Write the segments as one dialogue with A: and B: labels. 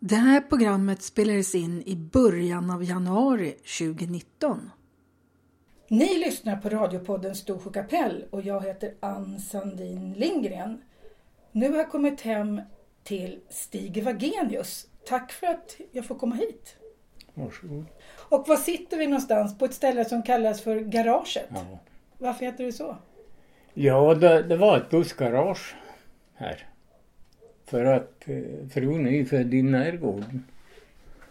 A: Det här programmet spelades in i början av januari 2019.
B: Ni lyssnar på radiopodden Storsjö kapell och jag heter Ann Sandin Lindgren. Nu har jag kommit hem till Stig Wagenius. Tack för att jag får komma hit.
C: Varsågod.
B: Och var sitter vi någonstans? På ett ställe som kallas för Garaget.
C: Ja,
B: Varför heter det så?
C: ja det, det var ett bussgarage här. För att eh, frun är ju född i närgården.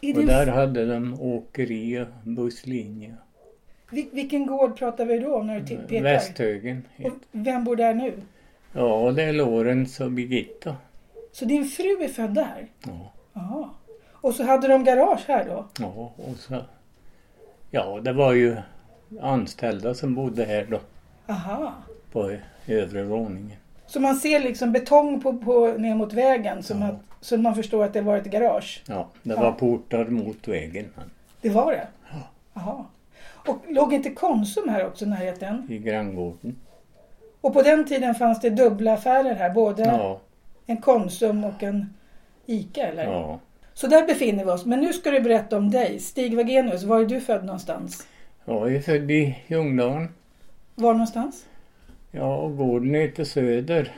B: I
C: Och
B: din...
C: där hade de åkeri och busslinje.
B: Vil- Vilken gård pratar vi då om när du ti- pekar?
C: Västhögen.
B: Och vem bor där nu?
C: Ja, det är Lorenz och Birgitta.
B: Så din fru är född där?
C: Ja,
B: Ja. Och så hade de garage här då?
C: ja, och så... Ja, det var ju anställda som bodde här då.
B: Aha.
C: På övre våningen.
B: Så man ser liksom betong på, på, ner mot vägen som
C: Ja.
B: att, så man förstår att det var ett garage.
C: Ja, det
B: Ja.
C: var portar mot vägen här
B: Det var det? Jaha. Och låg inte Konsum här också i närheten?
C: i granngården.
B: Och på den tiden fanns det dubbla affärer här, både
C: Ja,
B: en Konsum och en ICA eller?
C: ja.
B: Så där befinner vi oss. Men nu ska du berätta om dig. Stig Wagenius, var är du född någonstans?
C: Jag är född i Ljungdalen.
B: Var någonstans?
C: Ja, och gården heter Söder.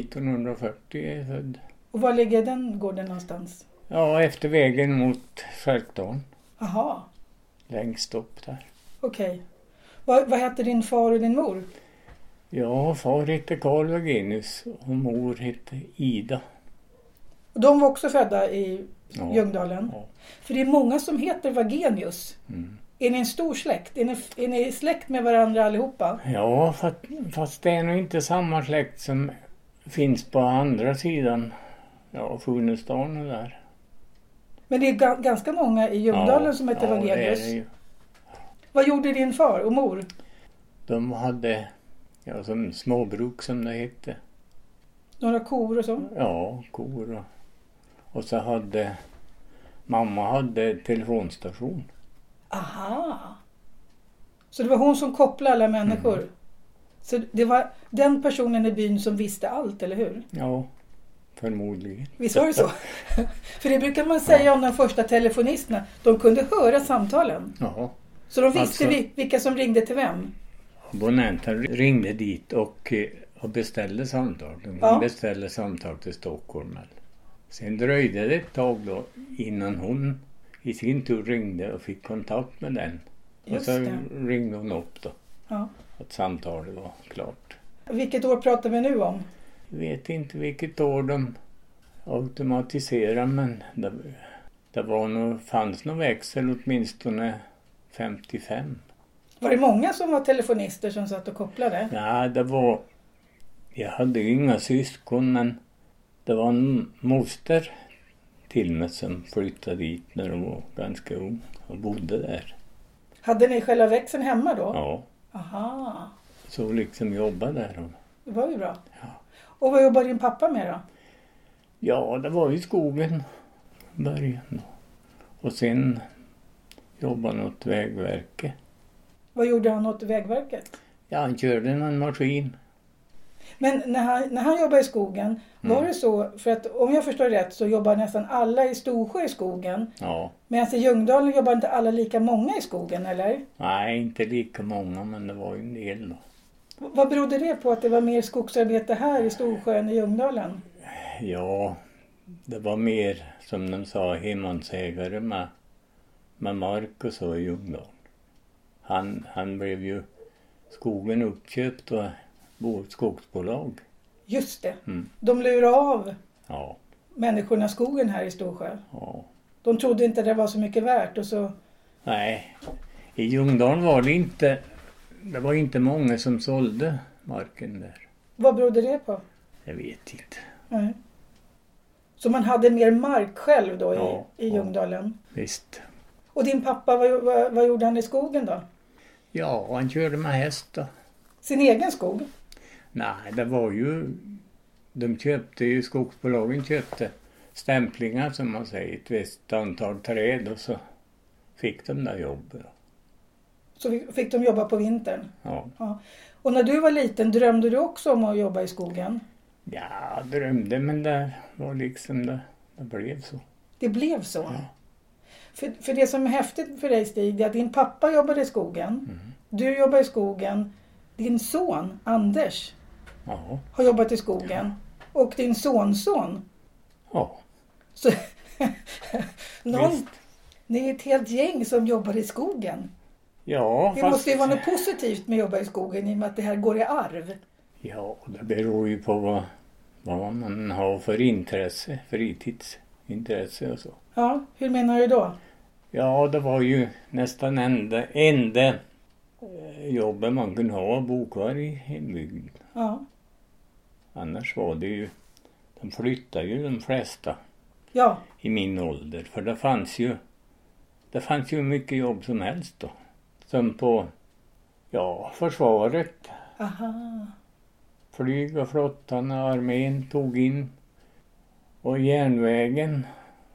C: 1940 är jag född.
B: Och var ligger den gården någonstans?
C: Ja, efter vägen mot Skärkdalen.
B: Jaha,
C: Längst upp där.
B: okej. Vad, vad hette din far och din mor?
C: Ja, far hette Karl Wagenius och mor hette Ida.
B: Och de var också födda i
C: Ja.
B: Ljungdalen?
C: Ja.
B: För det är många som heter Wagenius.
C: Mm.
B: Är ni en stor släkt? Är ni, är ni släkt med varandra allihopa?
C: Ja, fast, fast det är nog inte samma släkt som finns på andra sidan. Ja, Funäsdalen och där.
B: Men det är ga- ganska många i Ljungdalen
C: ja,
B: som heter
C: ja, det är
B: Wagenius.
C: det ju.
B: Vad gjorde din far och mor?
C: De hade, ja, som småbruk som det hette.
B: Några kor och
C: Mm.
B: så?
C: Ja, kor och... Och så hade... Mamma hade telefonstation.
B: Aha! Så det var hon som kopplade alla människor?
C: Mm.
B: Så det var den personen i byn som visste allt, eller hur?
C: Ja, förmodligen.
B: Visst var det så? För det brukar man säga om de första telefonisterna. De kunde höra samtalen.
C: Ja.
B: Så de visste
C: Alltså-
B: vi- vilka som ringde till vem.
C: Abonnenten ringde dit och, eh, och beställde samtal. De
B: Ja.
C: beställde samtal till Stockholm. Sen dröjde det ett tag då innan hon i sin tur ringde och fick kontakt med den. Och
B: Just
C: så
B: det.
C: ringde hon upp då.
B: Ja.
C: Att samtalet var klart.
B: Vilket år pratar vi nu om?
C: Jag vet inte vilket år de automatiserade men det, det var nog, fanns nog växel åtminstone 55.
B: Var det många som var telefonister som satt och kopplade?
C: Nej, det var... Jag hade ju inga syskon men det var en moster till mig som flyttade dit när hon var ganska ung och bodde där.
B: Hade ni själva växeln hemma då?
C: Ja,
B: Aha,
C: så liksom jobbade där. hon.
B: det var ju bra. Och vad jobbar din pappa med då?
C: Ja, det var i skogen i början då. Och sen jobbade han åt Vägverket.
B: Vad gjorde han åt Vägverket?
C: Ja, han körde någon maskin.
B: Men när han, när han jobbade i skogen,
C: Mm.
B: var det så, för att om jag förstår rätt så jobbar nästan alla i Storsjö i skogen.
C: Ja,
B: Medan i Ljungdalen jobbar inte alla lika många i skogen, eller?
C: nej inte lika många men det var ju en del då.
B: V- Vad berodde det på att det var mer skogsarbete här i Storsjö än i Ljungdalen?
C: Ja, det var mer som de sa hemmansägare med, med mark och så i Ljungdalen. Han, han blev ju skogen uppköpt av vårt skogsbolag.
B: Just det,
C: Mm.
B: de lurade av
C: Ja,
B: människorna skogen här i Storsjö.
C: ja.
B: De trodde inte det var så mycket värt och så
C: Nej, i Ljungdalen var det inte, det var inte många som sålde marken där.
B: Vad berodde det på?
C: Jag vet inte.
B: Nej. Så man hade mer mark själv då i,
C: Ja,
B: i
C: ja.
B: Ljungdalen.
C: Visst.
B: Och din pappa, vad, vad, vad gjorde han i skogen då?
C: Ja, han körde med häst då.
B: Sin egen skog?
C: Nej, det var ju... De köpte ju, skogsbolagen köpte stämplingar som man säger, ett visst antal träd och så fick de där jobbet.
B: Så fick- fick de jobba på vintern.
C: Ja,
B: Ja. Och när du var liten, drömde du också om att jobba i skogen?
C: ja drömde men det var liksom det, det blev så.
B: Det blev så. För, för det som är häftigt för dig Stig, det är att din pappa jobbar i skogen.
C: Mm.
B: Du jobbar i skogen. Din son Anders
C: Ja.
B: har jobbat i skogen. Och din sonson.
C: ja.
B: Så, någon, ni är ett helt gäng som jobbar i skogen.
C: Ja,
B: Det
C: fast-
B: måste ju vara något positivt med att jobba i skogen i och med att det här går i arv.
C: Ja, det beror ju på vad, vad man har för intresse, fritidsintresse och så.
B: Ja, hur menar du då?
C: Ja, det var ju nästan enda, enda eh, jobbet man kunde ha, bo kvar i hembygden.
B: Ja,
C: Annars var det ju, de flyttade ju de flesta
B: ja,
C: i min ålder, för det fanns ju, det fanns ju hur mycket jobb som helst då. Som på, ja, försvaret,
B: aha,
C: flyg och flottan och armén tog in och järnvägen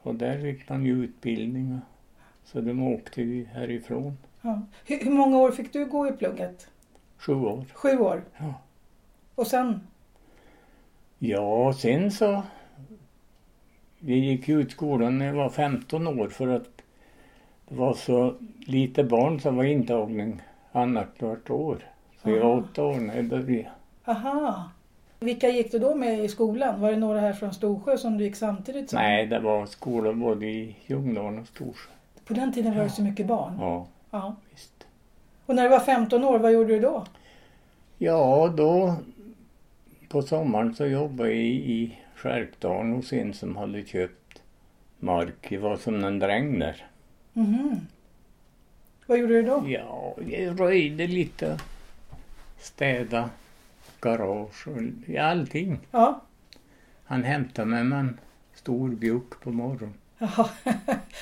C: och där fick man ju utbildning. och- Så de åkte ju härifrån,
B: ja. Hur, hur många år fick du gå i plugget?
C: sju år.
B: Sju år?
C: Ja.
B: Och sen?
C: Ja, och sen så... Vi gick ju ut skolan när jag var 15 år för att det var så lite barn som var intagning annat vart år. Så jag var
B: Ah.
C: åtta år när jag började.
B: Aha. Vilka gick du då med i skolan? Var det några här från Storsjö som du gick samtidigt som?
C: Nej, det var skola både i Ljungdalen och Storsjö.
B: På den tiden var det så mycket barn.
C: Ja,
B: Ja.
C: visst.
B: Och när du var 15 år, vad gjorde du då?
C: Ja, då på sommaren så jobbade jag i, i Skärpdalen hos en som hade köpt mark. Jag var som en dräng där.
B: Mhm. Vad gjorde du då?
C: Ja, jag röjde lite, städa, garage och ja, allting.
B: Ja.
C: Han hämtade mig med en stor bjuck på morgonen.
B: Jaha.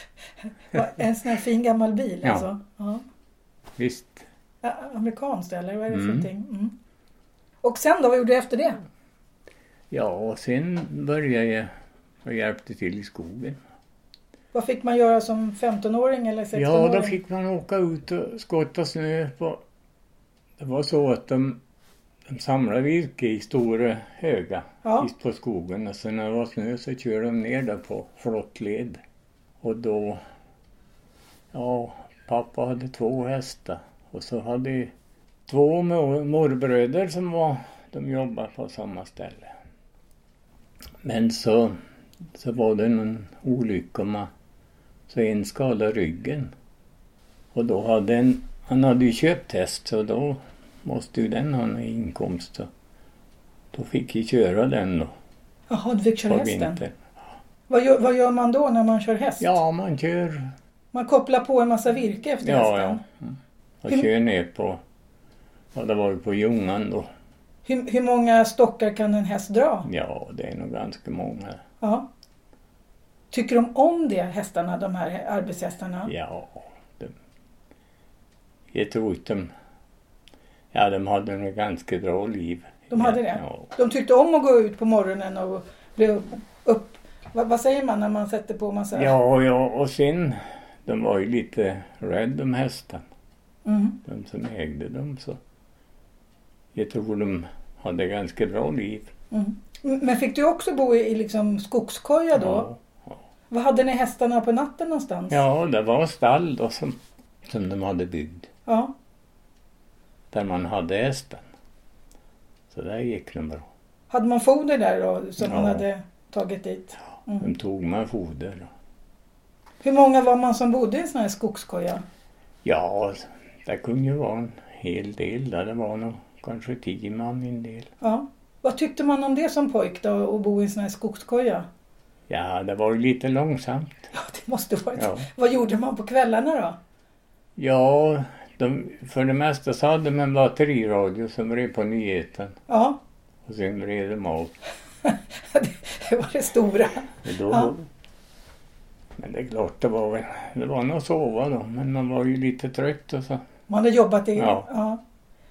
B: Vad, en sån här fin gammal bil
C: Ja.
B: alltså? Ja.
C: Visst,
B: Ja, Amerikanskt eller vad är det för
C: Mm.
B: någonting? Mm. Och sen då, vad gjorde du efter det?
C: ja och sen började jag och hjälpte till i skogen.
B: Vad fick man göra som 15-åring eller 16-åring?
C: Ja, då fick man åka ut och skotta snö på... Det var så att de, de samlade virke i stora höga
B: Ja.
C: i- på skogen och sen när det var snö så körde de ner det på flottled. Och då... Ja, pappa hade två hästar och så hade jag två mor- morbröder som var... De jobbade på samma ställe. Men så, så var det någon olycka med så en skadade ryggen. Och då hade en, han hade ju köpt häst så då måste ju den ha någon inkomst. Så. Då fick vi köra den då
B: Jaha, du fick köra
C: på
B: hästen.
C: vintern.
B: Vad gör, vad gör man då när man kör häst?
C: Ja, man kör.
B: Man kopplar på en massa virke efter
C: Ja,
B: hästen?
C: ja. Mm. Och
B: Hur-
C: kör ner på, ja det var ju på Ljungan då.
B: Hur, hur många stockar kan en häst dra?
C: Ja, det är nog ganska många.
B: Ja. Tycker de om det, hästarna, de här arbetshästarna?
C: Ja, de, jag tror att de, ja de hade nog ganska bra liv.
B: De hade det?
C: Ja,
B: De tyckte om att gå ut på morgonen och bli upp... Vad, vad säger man när man sätter på massa...
C: Ja, ja, och sen, de var ju lite rädda om hästen,
B: Mm.
C: de som ägde dem. så Jag tror de hade ganska bra liv.
B: Mm. Men fick du också bo i, i liksom skogskoja då? Vad hade ni hästarna på natten någonstans?
C: Ja, det var stall då som, som de hade byggt,
B: Ja.
C: där man hade hästen. Så där gick de bra.
B: Hade man foder där då som man
C: Ja.
B: hade tagit dit? Mm.
C: De tog med foder.
B: Hur många var man som bodde i en sån här skogskoja?
C: Ja, det kunde ju vara en hel del där. Det var nog kanske tio man i en del.
B: Ja. Vad tyckte man om det som pojk då, att bo i en sån här skogskoja?
C: Ja, det var ju lite långsamt.
B: Ja, det måste varit...
C: Ja.
B: Vad gjorde man på kvällarna då?
C: Ja, de, för det mesta så hade de en batteriradio som vred på nyheten
B: Ja,
C: och sen vred de av.
B: det var det stora.
C: Och då,
B: Ja.
C: Men det är klart, det var väl, det var nog att sova då, men man var ju lite trött och så.
B: Man hade jobbat i...
C: Ja.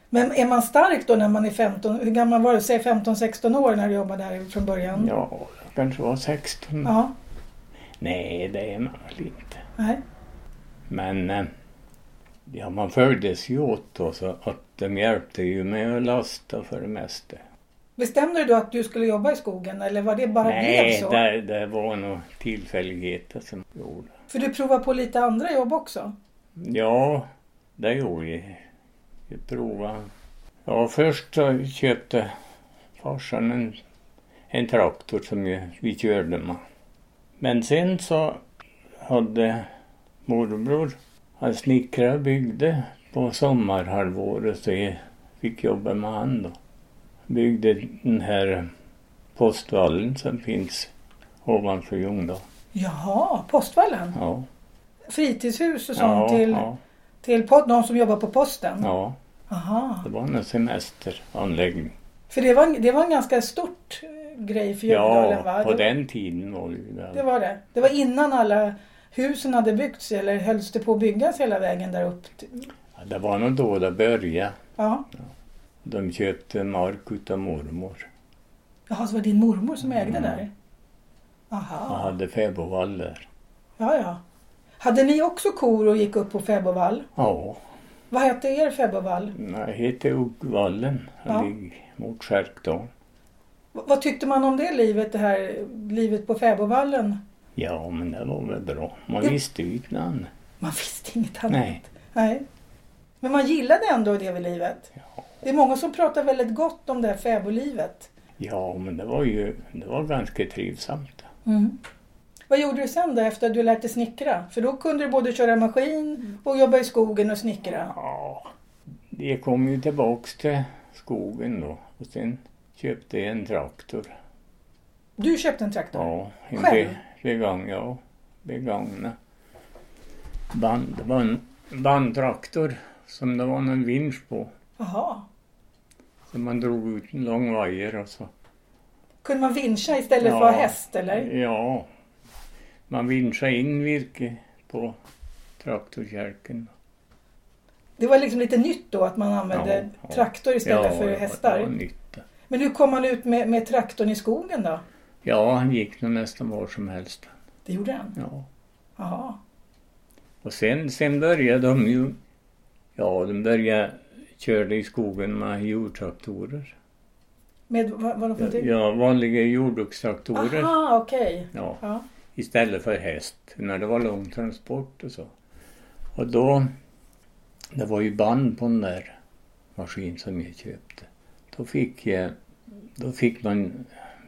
B: Men är man stark då när man är 15? Hur gammal var du? Säg 15-16 år när du jobbade här från början?
C: Ja, jag kanske var 16.
B: Ja.
C: Nej, det är man väl inte.
B: Nej.
C: Men eh, ja, man följdes ju åt då, så att de hjälpte ju med att lasta för det mesta.
B: Bestämde du då att du skulle jobba i skogen eller var det bara blev
C: Nej,
B: så?
C: det, det var nog tillfälligheter som gjorde.
B: För du provar på lite andra jobb också?
C: Ja, det gjorde jag. Jag provade. Ja, först så köpte farsan en, en traktor som ju- vi körde med. Men sen så hade morbror, han snickrade och byggde på sommarhalvåret så jag fick jobba med han då. Byggde den här postvallen som finns ovanför Ljungdal.
B: Jaha, Postvallen?
C: Ja,
B: Fritidshus och sånt
C: ja,
B: till,
C: ja,
B: till pod- någon som jobbar på posten?
C: ja,
B: Aha.
C: det var en semesteranläggning.
B: För det var, en- det var en ganska stort eh, grej för Ljungdalen va?
C: Ja, på
B: det,
C: den tiden var det ju det.
B: det var det. Det var innan alla husen hade byggts eller hölls det på att byggas hela vägen där upp? till-
C: Ja, det var nog då det började.
B: Ja.
C: De köpte mark utav mormor.
B: Jaha, så var det din mormor som ägde
C: Mm.
B: där?
C: Han
B: Aha.
C: hade fäbodvall där.
B: Ja, ja. Hade ni också kor och gick upp på fäbodvall?
C: Ja,
B: Vad hette er fäbodvall?
C: det hette Uggvallen.
B: Ja.
C: Han ligger mot Skärkdal.
B: V- vad tyckte man om det livet, det här livet på fäbodvallen?
C: Ja, men det var väl bra. Man
B: Ja.
C: visste ju inte namn.
B: Man visste inget annat.
C: Nej.
B: Nej. Men man gillade ändå det vid livet. Det är många som pratar väldigt gott om det här fäbodlivet.
C: Ja, men det var ju det var ganska trivsamt.
B: Vad gjorde du sen då efter att du lärt dig snickra? För då kunde du både köra maskin och jobba i skogen och snickra.
C: Ja, jag kom ju tillbaks till skogen då. Och sen köpte jag en traktor.
B: Du köpte en traktor?
C: Ja, en
B: Själv?
C: be, begång, ja. Begångna. Band, det var en bandtraktor som det var någon vinsch på.
B: Jaha.
C: Så man drog ut en lång vajer alltså. och så.
B: Kunde man vincha istället
C: Ja.
B: för att ha häst eller?
C: Ja. Man vinschade in virke på traktorkärken.
B: Det var liksom lite nytt då att man använde
C: Ja, ja.
B: traktor istället
C: ja,
B: för
C: det var-
B: hästar.
C: Det var nytta.
B: Men hur kom man ut med, med traktorn i skogen då?
C: Ja, han gick nog nästan var som helst.
B: Det gjorde han?
C: Ja.
B: Jaha.
C: Och sen, sen började de ju... Ja, de började köra i skogen med jordtraktorer.
B: Med vad, vad de för till?
C: Ja, vanliga jordbrukstraktorer.
B: Aha, okej.
C: Ja,
B: Ja.
C: istället för häst, när det var lång transport och så. Och då, det var ju band på den där maskin som jag köpte. Då fick, jag, då fick man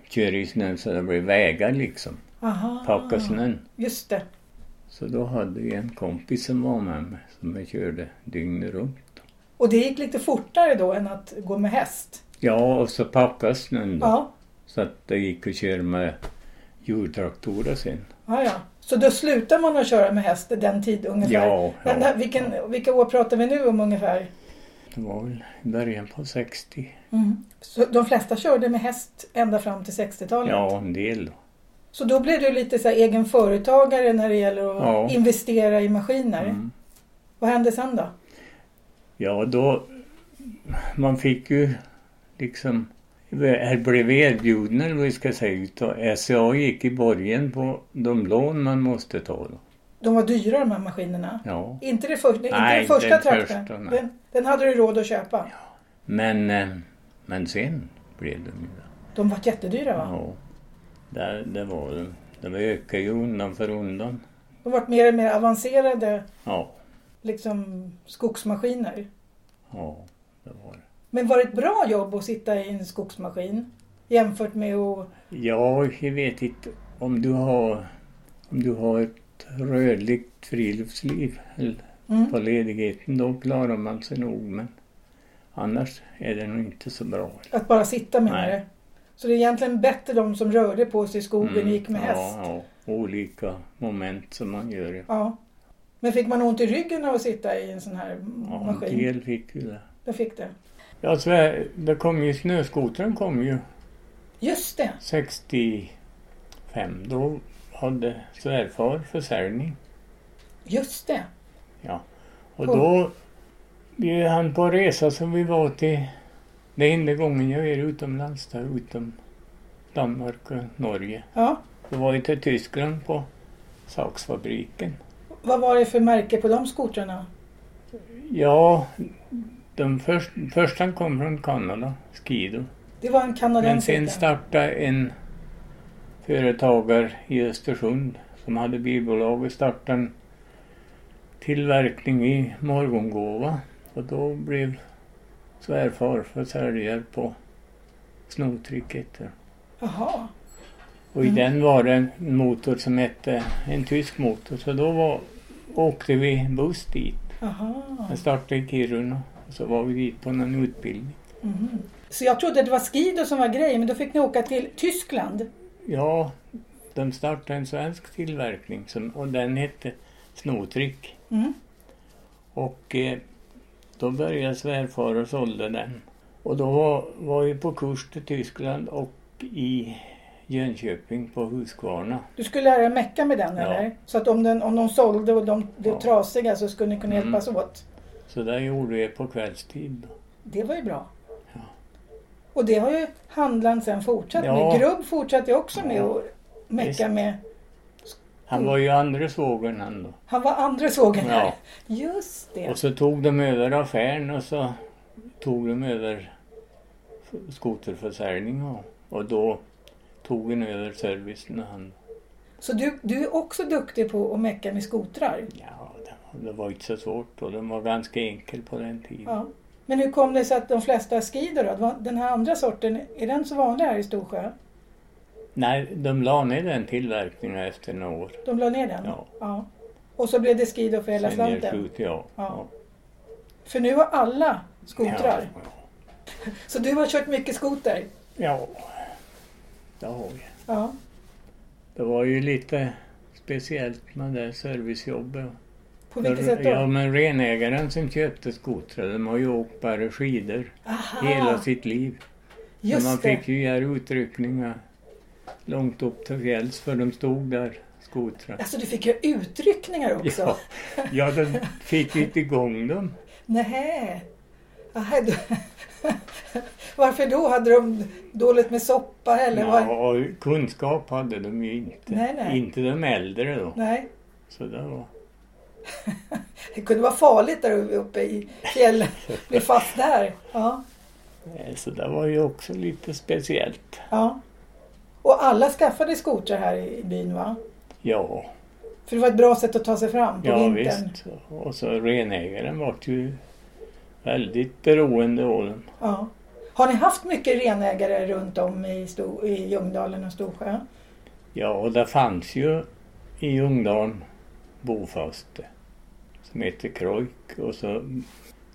C: köra i snön så det blev vägar liksom,
B: Aha.
C: packa snön.
B: Just det.
C: Så då hade jag en kompis som var med mig som jag körde dygnet runt.
B: Och det gick lite fortare då än att gå med häst?
C: Ja, och så packade snön då.
B: Ja.
C: Så att det gick att köra med jordtraktorer sen.
B: ja, ja. Så då slutar man att köra med häst den tid ungefär?
C: Ja,
B: Den
C: ja.
B: där, vilken, vilka år pratar vi nu om ungefär?
C: Det var väl i början på 60.
B: Mm. Så de flesta körde med häst ända fram till 60-talet?
C: Ja, en del då.
B: Så då blev du lite så här egen företagare när det gäller att
C: Ja.
B: investera i maskiner?
C: Mm.
B: Vad hände sen då?
C: Ja, då... Man fick ju liksom... Här blev vi erbjudna, eller vad vi ska säga, utav SCA gick i borgen på de lån man måste ta. Då.
B: De var dyra de här maskinerna?
C: Ja.
B: Inte, det för, nej,
C: Nej,
B: inte den första
C: den
B: traktorn?
C: första, nej.
B: den, den hade du råd att köpa?
C: Men, eh, men sen blev de ju det.
B: De var jättedyra va?
C: Ja. Det, det var de. De ökade ju undan för undan.
B: De var mer och mer avancerade
C: Ja,
B: liksom, skogsmaskiner.
C: ja, det var det.
B: Men var det ett bra jobb att sitta i en skogsmaskin? Jämfört med att...
C: Ja, jag vet inte om du har, om du har ett rörligt friluftsliv eller
B: Mm.
C: på ledigheten, då klarar man sig nog. Men annars är det nog inte så bra.
B: Att bara sitta med
C: Nej.
B: det. Så det är egentligen bättre de som rörde på sig i skogen och gick med
C: Mm, ja,
B: häst. Ja.
C: Ja, olika moment som man gör. Ja,
B: Men fick man ont i ryggen av att sitta i en sån här m-
C: en
B: maskin?
C: del fick ju det.
B: Jag fick det.
C: Ja, så här, det kom ju, snöskotern kom ju
B: Just det!
C: 65. Då hade svärfar försäljning.
B: Just det!
C: Och då bjöd han på resa som vi var till. Det är enda gången jag är utomlands där, utom Danmark och Norge.
B: Ja.
C: Då var vi till Tyskland på saksfabriken.
B: Vad var det för märke på de skotrarna?
C: Ja, den först, första kom från Kanada, Skido.
B: Det var en
C: Men
B: kanadensare.
C: sen startade en företagare i Östersund som hade bilbolag och startade en tillverkning i morgongåva. Och då blev svärfar försäljare på snotricket.
B: Jaha.
C: Och i den var det en motor som hette, en tysk motor, så då var, åkte vi buss dit.
B: Aha.
C: Den startade i Kiruna och så var vi dit på någon utbildning.
B: Mhm. Så jag trodde det var Skido som var grejen, men då fick ni åka till Tyskland.
C: Ja, de startade en svensk tillverkning som, och den hette Snotrick.
B: Mm.
C: Och eh, då började svärfar och sålde den. Och då var, var vi på kurs till Tyskland och i Jönköping på Huskvarna.
B: Du skulle lära dig mecka med den
C: Ja.
B: eller? Så att om, den, om de sålde och de, det
C: Ja.
B: trasiga så skulle ni kunna
C: Mm.
B: hjälpas åt.
C: Så där gjorde vi på kvällstid.
B: Det var ju bra.
C: Ja.
B: Och det har ju handlaren sen fortsatt
C: Ja.
B: med. Grubb fortsatte ju också med
C: Ja.
B: att mecka
C: Visst.
B: med.
C: Han var ju andra svågern han då.
B: Han var andra sågen
C: Ja.
B: här. Just det.
C: Och så tog de över affären och så tog de över skoterförsäljning och, och då tog han över servicen. och Han,
B: Så du, du är också duktig på att mecka med skotrar?
C: ja, det var, det var inte så svårt och den var ganska enkel på den tiden.
B: Ja. Men hur kom det sig att de flesta skidor då? Det var- Den här andra sorten, är den så vanlig här i Storsjö?
C: Nej, de la ner den tillverkningen efter några år.
B: De la ner den?
C: Ja.
B: Och så blev det skidor för hela
C: Sen ger
B: slanten?
C: skjut, ja.
B: Ja. För nu har alla skotrar.
C: Ja,
B: Så du har kört mycket skoter?
C: ja. det har vi.
B: Ja.
C: Det var ju lite speciellt med det servicejobbet.
B: På vilket sätt då?
C: Ja, men renägaren som köpte skotrar, de har ju åkt bara skidor
B: Aha,
C: hela sitt liv. Men
B: Ah. just
C: man
B: det.
C: fick ju göra utryckningar långt upp till fjälls för de stod där, skotrar.
B: Alltså du fick ju utryckningar också?
C: Ja, ja de fick ju inte igång dem.
B: Nähä. Aha, du... Varför då? Hade de dåligt med soppa eller? Var...
C: Ja, och kunskap hade de ju inte.
B: Nej, nej.
C: Inte de äldre då.
B: Nej,
C: Så det var...
B: det kunde vara farligt där uppe i fjällen. Bli fast där. Ja.
C: Nej, eh, Så det var ju också lite speciellt.
B: ja. Och alla skaffade skotrar här i i byn va?
C: Ja,
B: För det var ett bra sätt att ta sig fram på
C: ja
B: vintern.
C: visst. Och så renägaren vart ju väldigt beroende av dem.
B: Ja. Har ni haft mycket renägare runt om i, Stor- i Ljungdalen och Storsjö?
C: Ja, och det fanns ju i Ljungdalen bofaste som hette Krojk och så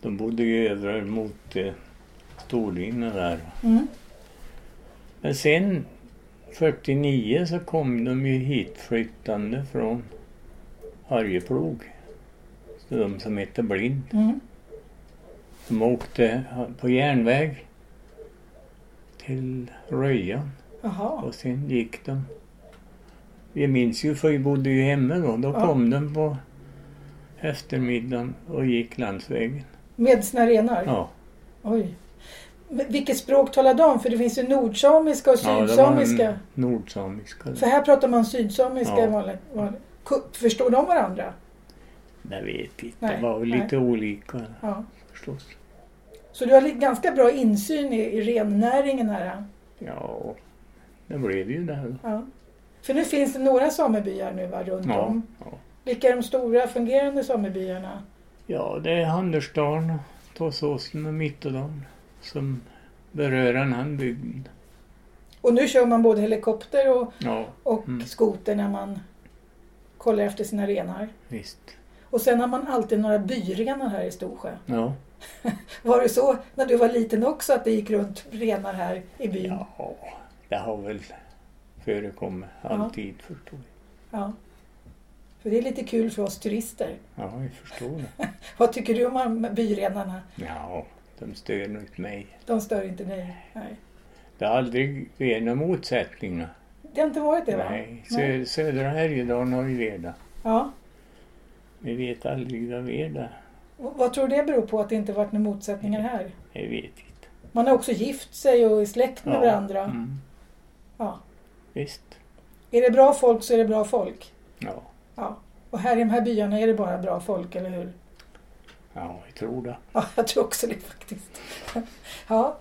C: de bodde ju över mot eh, Storlinjen där.
B: Mm.
C: Men sen 49 så kom de ju hit flyttande från Arjeplog. Så de som hette Blind.
B: Mm.
C: De åkte på järnväg till Röjan
B: Jaha.
C: och sen gick de. Vi minns ju för vi bodde ju hemma då. Då
B: Ja.
C: kom de på eftermiddagen och gick landsvägen.
B: Med sina renar?
C: Ja,
B: Oj. Men Vilket språk talar de? För det finns ju nordsamiska och
C: ja det var
B: sydsamiska.
C: en nordsamiska.
B: För här pratar man sydsamiska
C: Ja.
B: vanligt. vanligt. Ku- Förstår de varandra?
C: Det vet inte.
B: Nej,
C: det var väl
B: nej.
C: lite olika
B: Ja.
C: förstås.
B: Så du har li- ganska bra insyn i, i rennäringen här.
C: Ja, det blev ju det. här.
B: Ja. För nu finns det några samebyar nu va, runt
C: Ja,
B: om.
C: ja.
B: Vilka är de stora fungerande samebyarna?
C: ja, det är Handelsdalen, Tåssåsen och Mittådalen som berör den här bygden.
B: Och nu kör man både helikopter och,
C: Ja,
B: och
C: Mm.
B: skoter när man kollar efter sina renar.
C: visst.
B: Och sen har man alltid några byrenar här i Storsjö.
C: Ja.
B: Var det så när du var liten också att det gick runt renar här i byn?
C: Ja, det har väl förekommit alltid förstår jag.
B: Ja. För det är lite kul för oss turister.
C: Ja, jag förstår det.
B: Vad tycker du om de här byrenarna?
C: Ja, de stör nog inte mig.
B: De stör inte dig? Nej.
C: Det har aldrig varit några motsättningar.
B: Det har inte varit det va?
C: Nej, Sö- södra Härjedalen har ju varit det.
B: Ja.
C: Vi vet aldrig vad det är där.
B: Och Vad tror du det beror på att det inte varit några motsättningar här?
C: Jag vet inte.
B: Man har också gift sig och är släkt med
C: Ja,
B: varandra.
C: Mm,
B: Ja.
C: visst.
B: Är det bra folk så är det bra folk.
C: Ja.
B: Ja. Och här i de här byarna är det bara bra folk, eller hur?
C: ja, jag tror det.
B: Ja, jag tror också det faktiskt. Ja.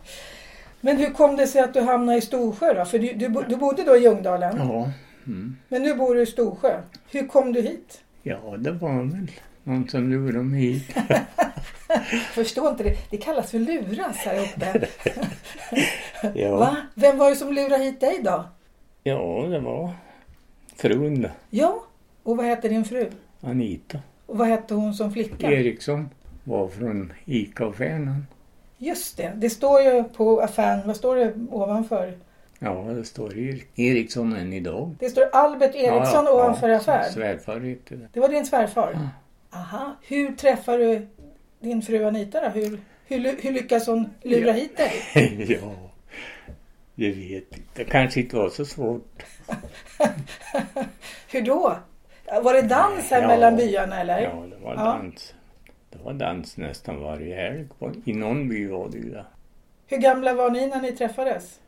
B: Men hur kom det sig att du hamnade i Storsjö då? För du, du, bo- du bodde då i Ljungdalen,
C: Ja, mm.
B: men nu bor du i Storsjö. Hur kom du hit?
C: ja det var väl någon som lurade mig hit.
B: Förstår inte det. Det kallas för luras här uppe.
C: Ja,
B: Va? Vem var det som lurade hit dig då?
C: ja det var frun då,
B: Ja, och vad heter din fru?
C: Anita
B: Och vad hette hon som flicka?
C: Eriksson. Var från ICA-affären.
B: Just det, det står ju på affären, vad står det ovanför?
C: Ja, det står Erik- Eriksson än idag.
B: Det står Albert Eriksson
C: ja, ja,
B: ovanför affär.
C: Svärfar heter det.
B: Det var din svärfar?
C: Ja.
B: Aha. Hur träffar du din fru Anita då? Hur, hur, ly- hur lyckas hon lura
C: Ja.
B: hit dig?
C: ja, jag vet inte. Det kanske inte var så svårt.
B: Hur då? Var det dans här
C: Ja.
B: mellan byarna eller?
C: Ja, det var
B: Ja.
C: dans. Det var dans nästan varje helg. på- I någon by var det ju det.
B: Hur gamla var ni när ni träffades?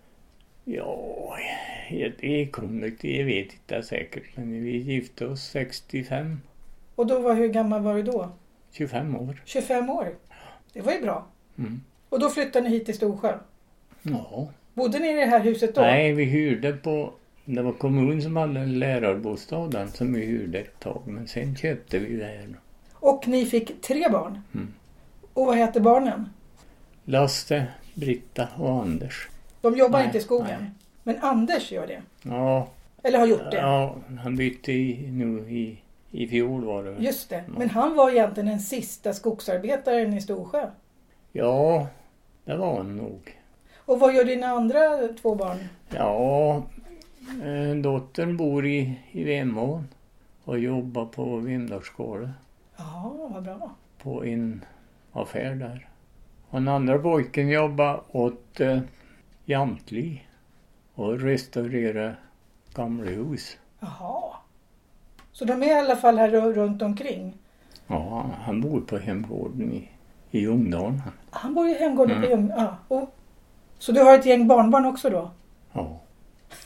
C: Ja, jag- det kom det inte. Jag vet inte säkert. Men vi gifte oss 65,
B: Och då var, hur gammal var du då?
C: 25 år.
B: 25 år? Det var ju bra.
C: Mm.
B: Och då flyttade ni hit till Storsjö?
C: Ja.
B: Bodde ni i det här huset då?
C: Nej, vi hyrde på... Det var kommunen som hade lärarbostaden som vi hyrde ett tag. Men sen köpte vi det här. då.
B: Och ni fick tre barn?
C: Mm.
B: Och vad hette barnen?
C: Lasse, Britta och Anders.
B: De jobbar
C: Nej,
B: inte i skogen.
C: nej.
B: Men Anders gör det.
C: Ja,
B: Eller har gjort det.
C: Ja, han bytte i, nu i, i fjol var det väl?
B: Just det. Men han var egentligen den sista skogsarbetaren i Storsjö.
C: Ja, det var han nog.
B: Och vad gör dina andra två barn?
C: Ja, eh, dottern bor i, i Vemån och jobbar på Vemdalsgården
B: Ja, vad bra.
C: på en affär där. Och den andra pojken jobbar åt eh, Jamtli och restaurerar gamla hus.
B: Jaha. Så de är i alla fall här ru- runt omkring.
C: Ja, han bor på hemgården i, i Ljungdalen.
B: Han bor i hemgården på Ljung... Ja. Och... Så du har ett gäng barnbarn också då?
C: Ja.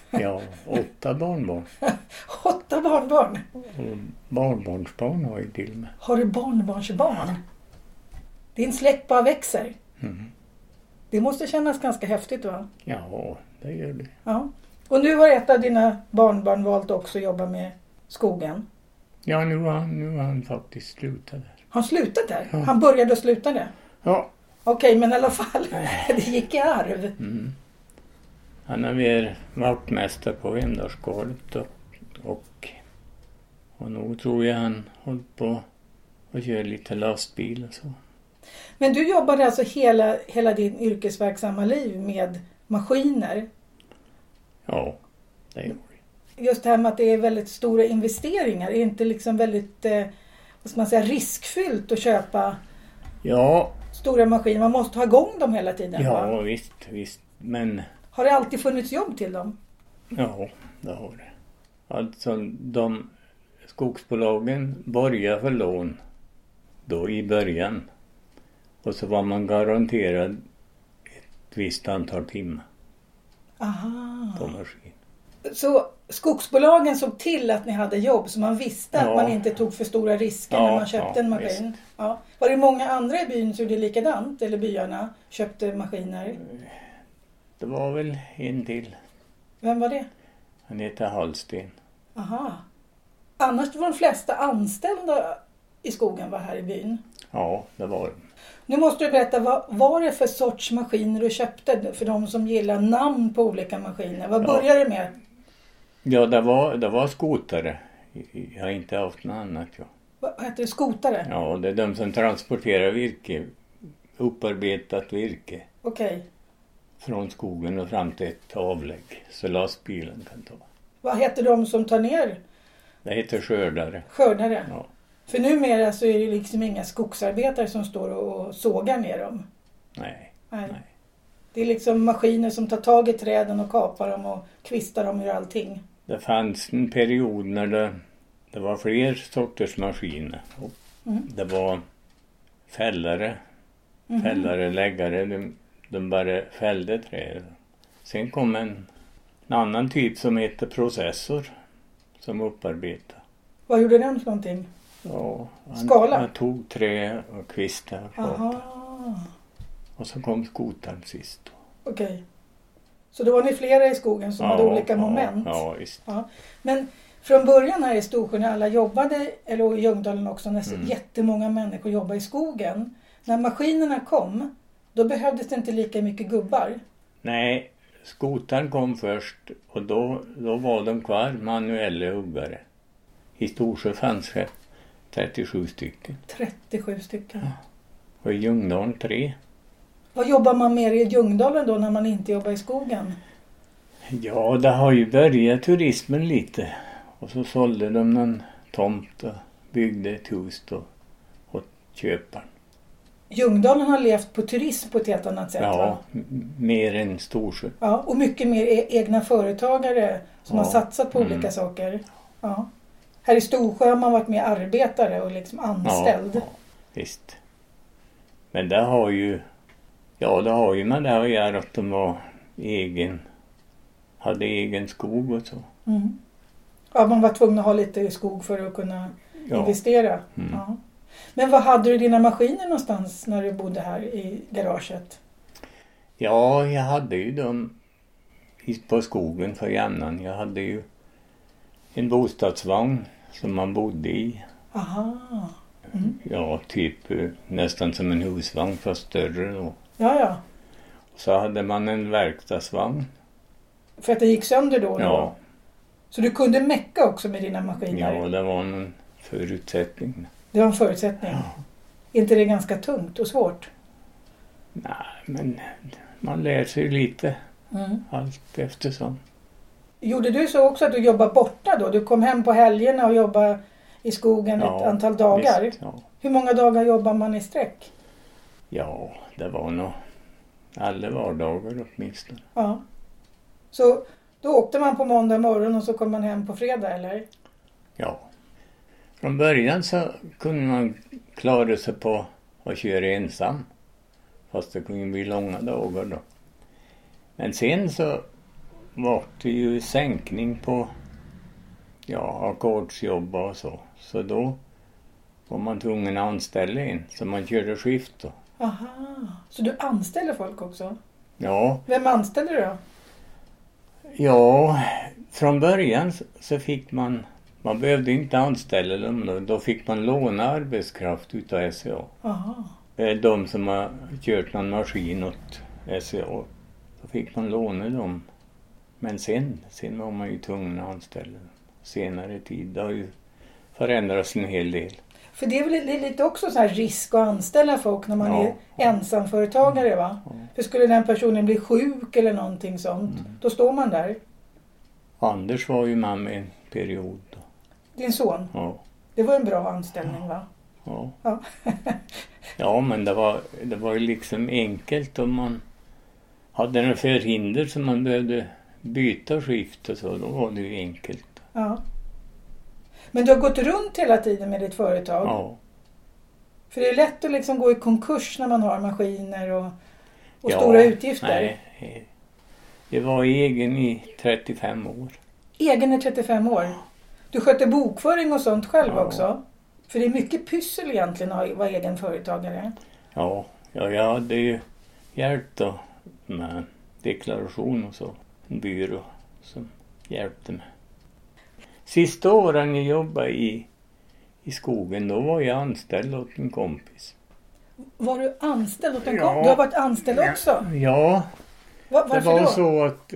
C: ja, åtta barnbarn.
B: Åtta barnbarn!
C: Och barnbarnsbarn har jag till och med.
B: Har du barnbarnsbarn? Din släkt bara växer.
C: Mm.
B: Det måste kännas ganska häftigt va?
C: Ja, det gör det.
B: Ja. Och nu har ett av dina barnbarn valt också att jobba med skogen.
C: Ja, nu har han, nu har han faktiskt slutat där.
B: Han slutat där?
C: Ja.
B: Han började och slutade?
C: Ja.
B: Okej, men i alla fall, det gick i arv.
C: Mm. Han har varit vaktmästare på Vemdalsgolvet och, och, och nog tror jag han håller på och kör lite lastbil och så.
B: Men du jobbade alltså hela, hela din yrkesverksamma liv med maskiner.
C: Ja, det gör det.
B: Just det här med att det är väldigt stora investeringar, är det inte liksom väldigt eh, vad ska man säga, riskfyllt att köpa
C: Ja,
B: stora maskiner? Man måste ha igång dem hela tiden. va?
C: ja visst, visst. Men
B: Har det alltid funnits jobb till dem?
C: Ja, det har det. Alltså de skogsbolagen borgar för lån då i början. Och så var man garanterad ett visst antal timmar
B: Aha.
C: på maskin.
B: Så skogsbolagen såg till att ni hade jobb så man visste att
C: Ja.
B: man inte tog för stora risker
C: Ja,
B: när man köpte
C: ja,
B: en maskin? Ja. Var det många andra i byn som gjorde likadant? Eller byarna köpte maskiner?
C: Det var väl en till.
B: Vem var det?
C: Han heter Hallsten.
B: Aha. Annars var de flesta anställda i skogen var här i byn.
C: Ja, det var det.
B: Nu måste du berätta, vad var det för sorts maskiner du köpte? För de som gillar namn på olika maskiner. Vad
C: Ja.
B: började du med?
C: Ja, det var, det var skotare. Jag har inte haft något annat. Ja.
B: Vad hette det? Skotare?
C: ja, det är de som transporterar virke. Upparbetat virke.
B: Okej.
C: från skogen och fram till ett avlägg så lastbilen kan ta.
B: Vad heter de som tar ner
C: Det heter skördare.
B: skördare?
C: Ja.
B: För numera så är det liksom inga skogsarbetare som står och sågar ner dem.
C: Nej.
B: Nej.
C: Nej.
B: Det är liksom maskiner som tar tag i träden och kapar dem och kvistar dem ur allting.
C: Det fanns en period när det, det var fler sorters maskiner. Och
B: Mm.
C: Det var fällare,
B: Mhm.
C: fällare, läggare. De, de bara fällde träd. Sen kom en, en annan typ som hette processor som upparbetade.
B: Vad gjorde den för någonting?
C: Ja, han,
B: Skala?
C: Han tog trä och kvistar och
B: Aha,
C: kapar. Och så kom skotaren sist. Då.
B: okej. Så då var ni flera i skogen som hade olika moment.
C: Ja, visst.
B: Ja. Men från början här i Storsjön när alla jobbade, eller och i Ljungdalen också, nästan
C: Mm.
B: jättemånga människor jobbade i skogen. När maskinerna kom, då behövdes det inte lika mycket gubbar.
C: Nej, skotan kom först och då, då var de kvar, manuella huggare. I Storsjö fanns det 37 stycken
B: 37 stycken.
C: och i Ljungdalen 3.
B: Vad jobbar man med i Ljungdalen då när man inte jobbar i skogen?
C: Ja, det har ju börjat turismen lite. Och så sålde de någon tomt och byggde ett hus då åt köparen.
B: Ljungdalen har levt på turism på ett helt annat sätt va?
C: Ja, m- mer än Storsjö.
B: Ja, och mycket mer e- egna företagare som
C: Ja.
B: har satsat på
C: Mm.
B: olika saker. Ja. Här i Storsjö har man varit mer arbetare och liksom anställd.
C: Ja, visst. Men det har ju... Ja, det har ju med det att göra att de var egen... Hade egen skog och så.
B: Mm. Ja, man var tvungen att ha lite i skog för att kunna
C: Ja,
B: investera.
C: Mm.
B: Ja. Men var hade du dina maskiner någonstans när du bodde här i garaget?
C: ja jag hade ju dem i- på skogen för jämnan. Jag hade ju en bostadsvagn som man bodde i.
B: Aha.
C: Ja, typ eh, nästan som en husvagn fast större då.
B: Ja, ja.
C: Så hade man en verkstadsvagn.
B: För att det gick sönder då? och då.
C: Ja,
B: Så du kunde mecka också med dina maskiner?
C: ja det var en förutsättning.
B: Det var en förutsättning. Är inte det ganska tungt och svårt?
C: Nej, men man lär sig lite Mm. allt eftersom.
B: Gjorde du så också att du jobbade borta då? Du kom hem på helgerna och jobbade i skogen ett
C: Ja,
B: antal dagar.
C: Visst, ja.
B: Hur många dagar jobbar man i sträck?
C: ja, det var nog alla vardagar åtminstone.
B: Ja. Så då åkte man på måndag morgon och så kom man hem på fredag eller?
C: Ja. Från början så kunde man klara sig på att köra ensam. Fast det kunde bli långa dagar då. Men sen så var det ju sänkning på ja, ackordsjobb och så. Så då var man tvungen att anställa en. Så man körde skift då.
B: Aha. Så du anställer folk också?
C: Ja,
B: Vem anställer du då?
C: Ja, från början så fick man, man behövde inte anställa dem då, då fick man låna arbetskraft utav SCA.
B: Aha.
C: Eh, De som har kört någon maskin åt SCA, då fick man låna dem. Men sen, sen var man ju tvungen att anställa dem. Senare tid, det har ju förändrats en hel del.
B: För det är väl li- lite också så här risk att anställa folk när man
C: Ja.
B: är ensamföretagare va? För skulle den personen bli sjuk eller någonting sånt,
C: Mm.
B: då står man där.
C: Anders var ju med mig en period då.
B: Din son,
C: Ja,
B: det var en bra anställning va?
C: ja.
B: Ja.
C: Ja, men det var, det var ju liksom enkelt om man hade några förhinder som man behövde byta skift och så, då var det ju enkelt.
B: ja. Men du har gått runt hela tiden med ditt företag.
C: Ja,
B: För det är lätt att liksom gå i konkurs när man har maskiner och, och
C: ja,
B: stora utgifter.
C: Nej, eh, jag var egen i 35 år.
B: Egen är 35 år. Du sköter bokföring och sånt själv
C: Ja.
B: också. För det är mycket pyssel egentligen att vara egen företagare.
C: Ja, ja jag hade ju hjälp då med deklaration och så. En byrå som hjälpte mig. Sista åren jag jobbade i, i skogen, då var jag anställd åt en kompis.
B: Var du anställd åt en
C: Ja.
B: kom? Du har varit anställd också?
C: Ja,
B: Va,
C: Det
B: varför
C: var
B: då?
C: så att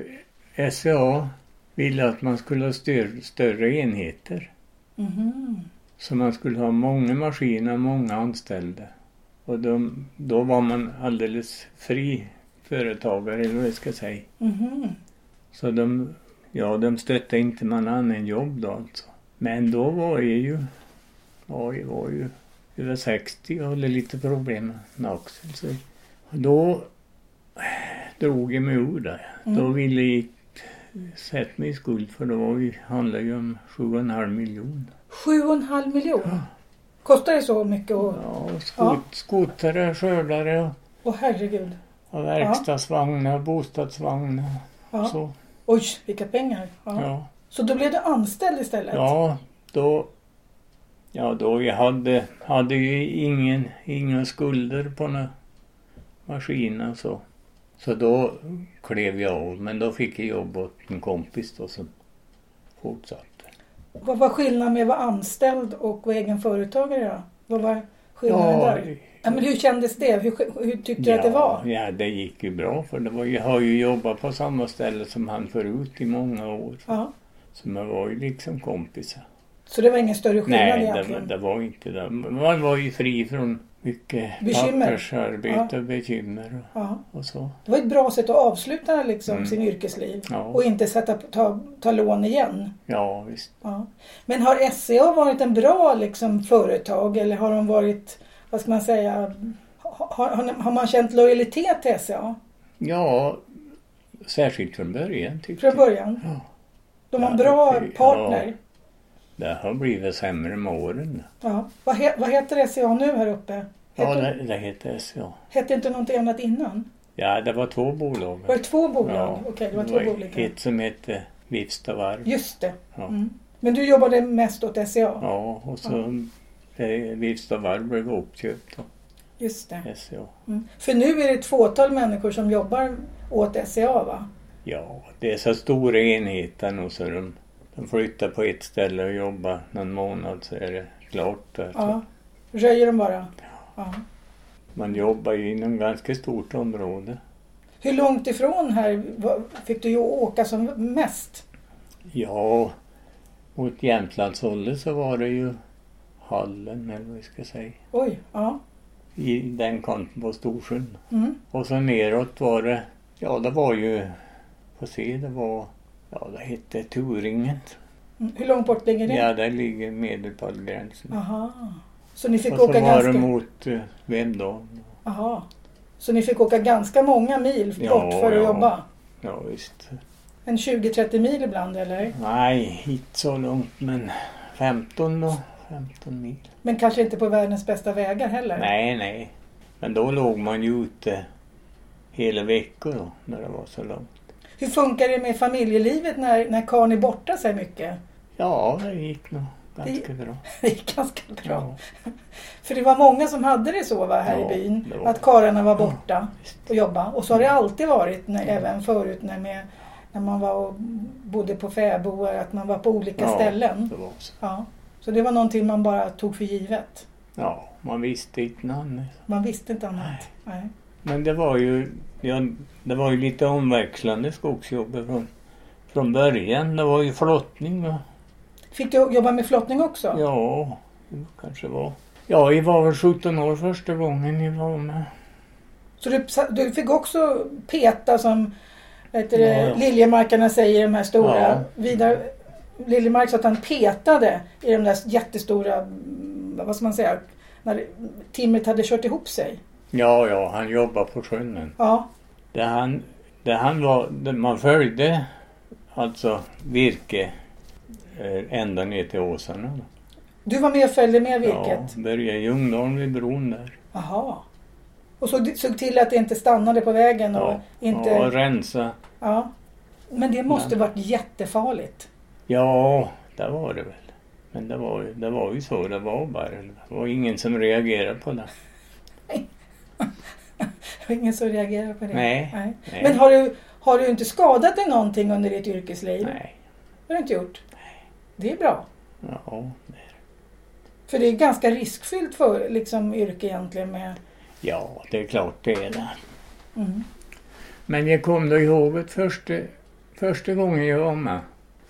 C: SCA ville att man skulle ha stör, större enheter.
B: Mhm.
C: Så man skulle ha många maskiner, många anställda. Och de, då var man alldeles fri företagare, eller vad jag ska säga.
B: Mhm.
C: Så de, ja, de stötte inte man annan än jobb då alltså. Men då var jag ju, ja, jag var ju över 60 och hade lite problem med axeln. Så. Och då drog jag mig ur det. Då ville jag inte sätta mig i skuld för då var vi, handlade ju om 7,5 miljoner.
B: Sju och en halv miljon? Kostar det så mycket? Och,
C: Ja, skot,
B: Ja.
C: skotare, skördare och,
B: och herregud.
C: och verkstadsvagnar, bostadsvagnar
B: Ja.
C: så.
B: Oj, vilka pengar. Ja.
C: Ja.
B: Så då blev du anställd istället?
C: Ja, då... Ja, då jag hade, hade ju ingen, inga skulder på några maskiner och så. Så då klev jag av, men då fick jag jobb åt en kompis då som fortsatte.
B: Vad var skillnaden med att vara anställd och vara egen företagare då? Vad var skillnaden där? Ja, men hur kändes det? Hur, hur tyckte du att det var?
C: Ja, det gick ju bra för det var, jag har ju jobbat på samma ställe som han förut i många år.
B: Ja.
C: Så man var ju liksom kompisar.
B: Så det var ingen större skillnad
C: Nej, det, var-
B: egentligen?
C: det var inte det. Man var ju fri från mycket
B: Bekymmer.
C: pappersarbete och bekymmer
B: Ja.
C: och, och så.
B: Det var ett bra sätt att avsluta liksom,
C: Mm.
B: sin yrkesliv
C: Ja.
B: och inte sätta, ta, ta lån igen.
C: Ja, visst.
B: Ja. Men har SCA varit en bra liksom, företag eller har de varit, vad ska man säga, har, har, har man känt lojalitet till E SCA
C: Ja, särskilt från början tyckte
B: från
C: jag.
B: början?
C: Ja.
B: De var en
C: Mm. Ja,
B: bra
C: det-
B: partner.
C: Det har blivit sämre med åren.
B: Ja. Vad, he, vad heter SCA nu här uppe?
C: Ja,
B: Hette,
C: det, det hette SCA.
B: hette inte något annat innan?
C: Ja, det var två bolag.
B: Var det två bolag?
C: Ja,
B: Okej, det var två bolag.
C: Ett som hette Vifsta varv.
B: Just det.
C: Ja.
B: Mm. Men du jobbade mest åt E SCA?
C: Ja, och så eh, Vifsta varv blev uppköpt av
B: Just det.
C: SCA.
B: Mm. För nu är det ett fåtal människor som jobbar åt SCA va?
C: Ja, det är så stora enheter nu så de, de flyttar på ett ställe och jobbar någon månad så är det klart. Alltså.
B: Ja. Röjer de bara? Ja.
C: Man jobbar ju inom ganska stort område.
B: Hur långt ifrån här var- fick du ju åka som mest?
C: Ja, mot Jämtlandshållet så var det ju Hallen eller vad vi ska säga.
B: Oj, ja.
C: I den kanten på Storsjön.
B: Mm.
C: Och så neråt var det, ja det var ju, får se det var, ja det hette Turingen.
B: Mm. Hur långt bort ligger det?
C: Ja, där ligger Medelpadgränsen.
B: Aha. Så ni fick
C: Och så
B: åka
C: var
B: ganska...
C: det mot, eh, vem då?
B: Aha. Så ni fick åka ganska många mil
C: Ja,
B: bort för att
C: ja.
B: jobba?
C: Ja, visst.
B: En 20-30 mil ibland eller?
C: Nej, inte så långt men 15 då. 15 mil.
B: Men kanske inte på världens bästa vägar heller?
C: Nej, nej. Men då låg man ju ute hela veckor då, när det var så långt.
B: Hur funkar det med familjelivet när, när karln är borta så här mycket?
C: Ja, det gick nog ganska bra.
B: Det är ganska bra.
C: Ja,
B: För det var många som hade det så va, här
C: Ja,
B: i byn.
C: det Mm. var
B: Att
C: det.
B: karlarna var borta
C: visst.
B: och jobba. Och så har det alltid varit, när,
C: Mm.
B: även förut när, med, när man var och bodde på fäbodar, att man var på olika
C: Ja.
B: ställen.
C: Det var så.
B: Ja. Så det var någonting man bara tog för givet.
C: Ja, man visste inte något annat.
B: Man visste inte annat. Nej.
C: Men det var ju, ja, det var ju lite omväxlande skogsjobb från, från början. Det var ju flottning va?
B: Fick du jobba med flottning också?
C: Ja, det kanske var. Ja, jag var väl 17 år första gången jag var med.
B: Så du, du fick också peta som vad heter det,
C: Ja, ja.
B: liljemarkarna säger, de här stora.
C: Ja.
B: Vidar, Liljemark sa att han petade i de där jättestora, mm, vad ska man säga, när timret hade kört ihop sig.
C: Ja, ja, han jobbade på sjön.
B: Ja,
C: Där han, där han var, där man följde alltså virke eh, ända ner till åsarna.
B: du var med och följde med
C: Ja,
B: virket.
C: började i Ljungdalen vid bron där.
B: Jaha. Och såg, såg till att det inte stannade på vägen och
C: Ja,
B: inte...
C: Och
B: Ja.
C: rensa.
B: Men det måste varit jättefarligt.
C: Ja, det var det väl. Men det var, ju- det var ju så det var bara. Det var ingen som reagerade på det.
B: Det var ingen som reagerade på det.
C: Nej,
B: Nej.
C: nej.
B: Men har du, har du inte skadat dig någonting under ditt yrkesliv?
C: Nej.
B: Det har du inte gjort? Det är bra.
C: Ja,
B: För det är ganska riskfyllt för liksom, yrke egentligen med...
C: ja, det är klart det är det.
B: Mm.
C: Men jag kom då ihåg att första, första gången jag var med,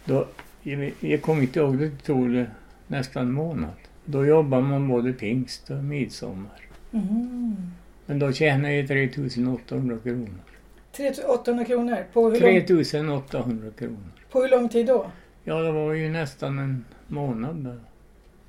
C: då, jag, jag kommer inte ihåg, det tog det nästan en månad. Då jobbade man både pingst och midsommar.
B: Mm.
C: Men då tjänade jag 3800 kronor.
B: 3 800 kronor. På hur, lång,
C: 3800 kronor.
B: på hur lång tid då?
C: Ja, det var ju nästan en månad där.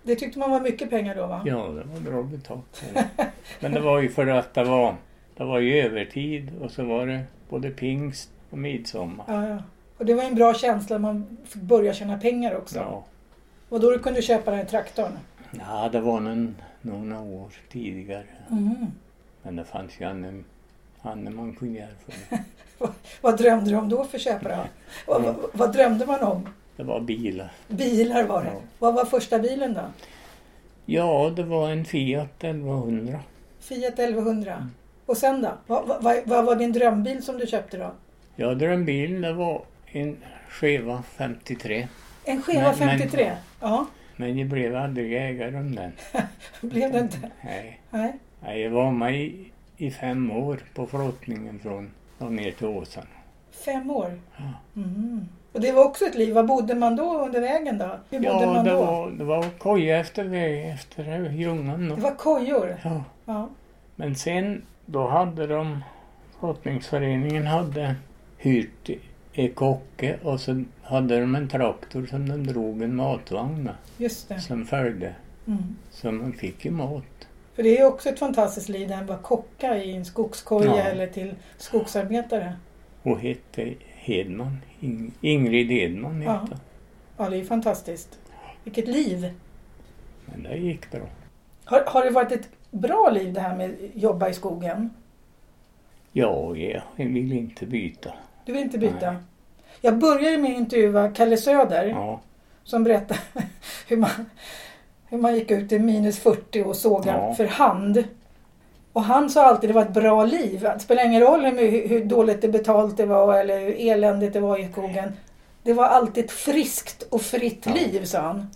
B: Det tyckte man var mycket pengar då va?
C: Ja, det var bra betalt. Men det var ju för att det var, det var ju övertid och så var det både pingst och midsommar.
B: Ja, ja. Och det var en bra känsla man fick börja tjäna pengar också.
C: Ja.
B: Och då kunde du köpa den här traktorn.
C: ja, det var någon, några år tidigare.
B: Mm.
C: Men det fanns ju annan, annan man kunde göra för det.
B: Vad drömde du om då för köpare? Vad, vad, vad drömde man om?
C: Det var bilar.
B: Bilar var det.
C: Ja.
B: Vad var första bilen då?
C: Ja, det var en Fiat 1100. Mm.
B: Fiat 1100. Och sen då? Vad, vad, vad, vad var din drömbil som du köpte då?
C: Jag drömbilen det var en Cheva 53.
B: En Cheva
C: Men- men-
B: 53? Ja,
C: Men jag blev aldrig ägare om den.
B: blev det inte?
C: Nej.
B: Nej.
C: Nej, Jag var med i, i fem år på flottningen från och ner till Åsen.
B: Fem år?
C: Ja.
B: Mm. Och det var också ett liv. Vad bodde man då under vägen då? Hur bodde
C: Ja,
B: man
C: det
B: då?
C: var, det var koja efter väg, efter Ljungan.
B: Det
C: då.
B: var kojor?
C: Ja.
B: Ja.
C: Men sen då hade de, flottningsföreningen hade hyrt i Kocke och så hade de en traktor som de drog en matvagn med,
B: Just det.
C: som följde.
B: Mm.
C: Så man fick ju mat.
B: För det är ju också ett fantastiskt liv där man var kocka i en skogskoja
C: Ja.
B: eller till skogsarbetare.
C: Och hette Hedman, Ing- Ingrid Hedman hette
B: Ja.
C: hon.
B: Ja, det är ju fantastiskt. Vilket liv!
C: Men det gick bra.
B: Har, har det varit ett bra liv det här med att jobba i skogen?
C: Ja, ja, jag vill inte byta.
B: Du vill inte byta?
C: Nej.
B: Jag började med att intervjua Kalle Söder
C: Ja,
B: som berättade hur man, hur man gick ut i minus 40 och sågade
C: Ja.
B: för hand. Och han sa alltid att det var ett bra liv. Det spelar ingen roll hur, my- hur dåligt det betalt det var eller hur eländigt det var i skogen. Det var alltid ett friskt och fritt
C: Ja.
B: liv, sa han.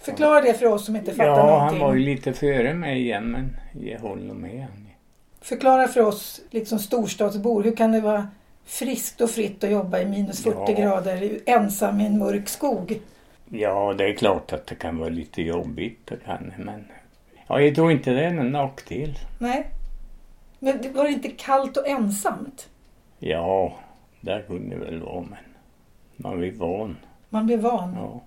B: Förklara det för oss som inte fattar
C: ja han
B: någonting.
C: var ju lite före mig igen, men jag håller med honom.
B: Förklara för oss liksom storstadsbor, hur kan det vara friskt och fritt att jobba i minus 40
C: Ja.
B: grader ensam i en mörk skog?
C: Ja, det är klart att det kan vara lite jobbigt, det kan, men ja, jag tror inte det är någon nackdel.
B: Nej. Men det var inte kallt och ensamt?
C: Ja, där kunde det väl vara, men man blir van.
B: Man blev van.
C: Ja.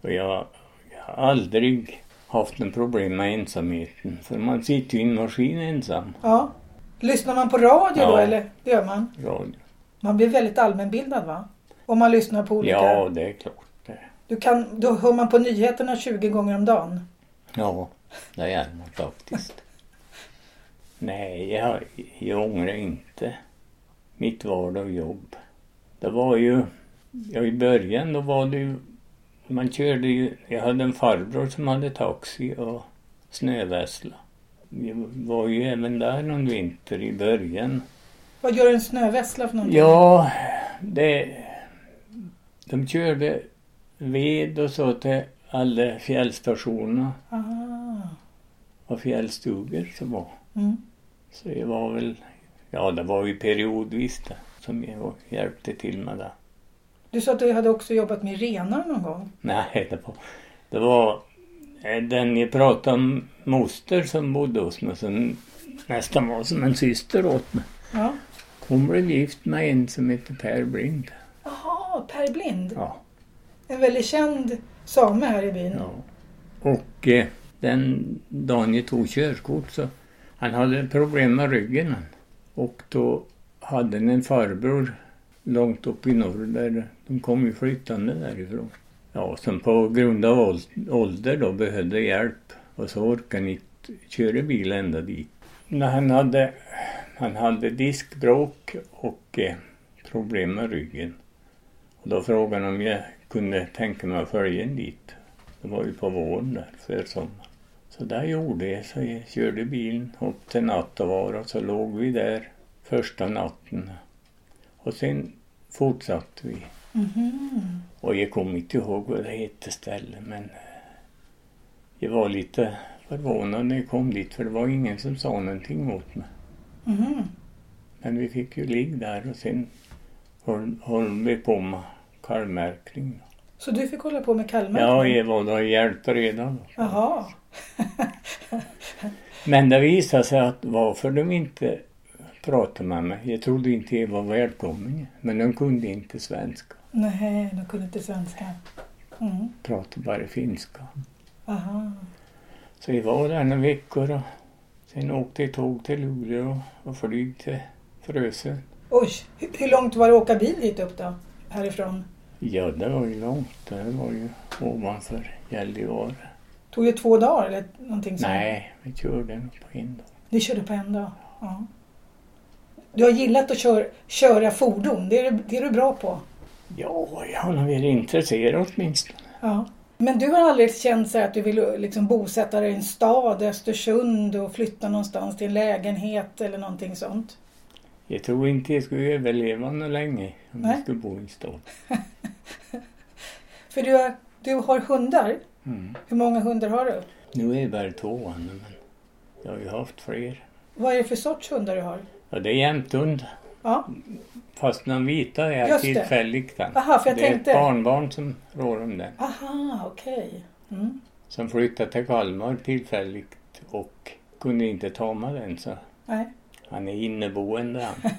C: Och jag, jag har aldrig haft något problem med ensamheten, för man sitter ju i en maskin ensam.
B: Ja. Lyssnar man på radio då
C: Ja.
B: eller? Det gör man.
C: Radio.
B: Man blir väldigt allmänbildad va? Om man lyssnar på olika.
C: Ja, det är klart. det.
B: Du kan, då hör man på nyheterna 20 gånger om dagen.
C: Ja, det är man faktiskt. Nej, jag, jag ångrar inte mitt val av jobb. Det var ju, ja i början då var det ju, man körde ju, jag hade en farbror som hade taxi och snövessla. Jag var ju även där någon vinter i början.
B: Vad gör en snövessla för någonting?
C: Ja, det, de körde ved och så till alla fjällstationerna
B: Aha.
C: och fjällstugor som var.
B: Mm.
C: Så det var väl, ja det var ju periodvis det, som jag hjälpte till med det.
B: Du sa att du hade också jobbat med renar någon gång.
C: Nej, det var, det var eh, den jag pratade om, moster som bodde hos mig, som nästan var som en syster åt mig.
B: Ja.
C: Hon blev gift med en som heter Per Blind.
B: Jaha, Per Blind.
C: Ja,
B: En väldigt känd same här i byn.
C: ja. Och eh, den dagen jag tog körkort så, han hade problem med ryggen. han. Och då hade han en farbror långt upp i norr där, de kom ju flyttande därifrån. Ja, som på grund av ål- ålder då behövde hjälp och så orkade han inte köra bil ända dit. När han hade, han hade diskbråck och eh, problem med ryggen. Och då frågade han om jag kunde tänka mig att följa en dit. Det var ju på våren där, försommaren. Så där gjorde jag, så jag körde bilen upp till Nattavaara och så låg vi där första natten. Och sen fortsatte vi.
B: Mhm.
C: Och jag kommer inte ihåg vad det hette stället men jag var lite förvånad när jag kom dit för det var ingen som sa någonting åt mig.
B: Mhm.
C: Men vi fick ju ligga där och sen höll, höll vi på med kalvmärkning.
B: Så du fick hålla på med
C: Ja,
B: kalvmärkning?
C: jag var då och hjälpte redan. då.
B: Jaha.
C: Men det visade sig att varför de inte pratade med mig, jag trodde inte jag var välkommen, men de kunde inte svenska,
B: Nej, de kunde inte svenska. Mm.
C: pratade bara finska.
B: Aha.
C: Så vi var där några veckor och sen åkte jag tåg till Luleå och flyg till Frösön.
B: Oj, hur, hur långt var det att åka bil dit upp då? Härifrån?
C: Ja, det var ju långt. Det var ju ovanför Gällivare.
B: Tog det två dagar eller någonting sånt?
C: Nej, vi körde nog på en dag.
B: Ni körde på en dag? Ja. Du har gillat att köra, köra fordon, det är, du- det är du bra på.
C: Ja, jag har nog varit intresserad åtminstone.
B: Ja. Men du har aldrig känt så här att du vill liksom bosätta dig i en stad, Östersund och flytta någonstans till en lägenhet eller någonting sånt?
C: Jag tror inte jag skulle överleva något länge om
B: Nej.
C: jag skulle bo i en stad.
B: För du har, du har hundar.
C: Mm.
B: Hur många hundar har du?
C: Nu är det bara två andra, men jag har ju haft fler.
B: Vad är det för sorts hundar du har?
C: Ja, det är jämthund.
B: Ja,
C: Fast den vita är
B: Just det.
C: tillfällig den.
B: Aha, för jag
C: det är
B: tänkte-
C: ett barnbarn som rår om den.
B: aha, okej. Mm.
C: Som flyttade till Kalmar tillfälligt och kunde inte tama den så
B: Nej.
C: han är inneboende han.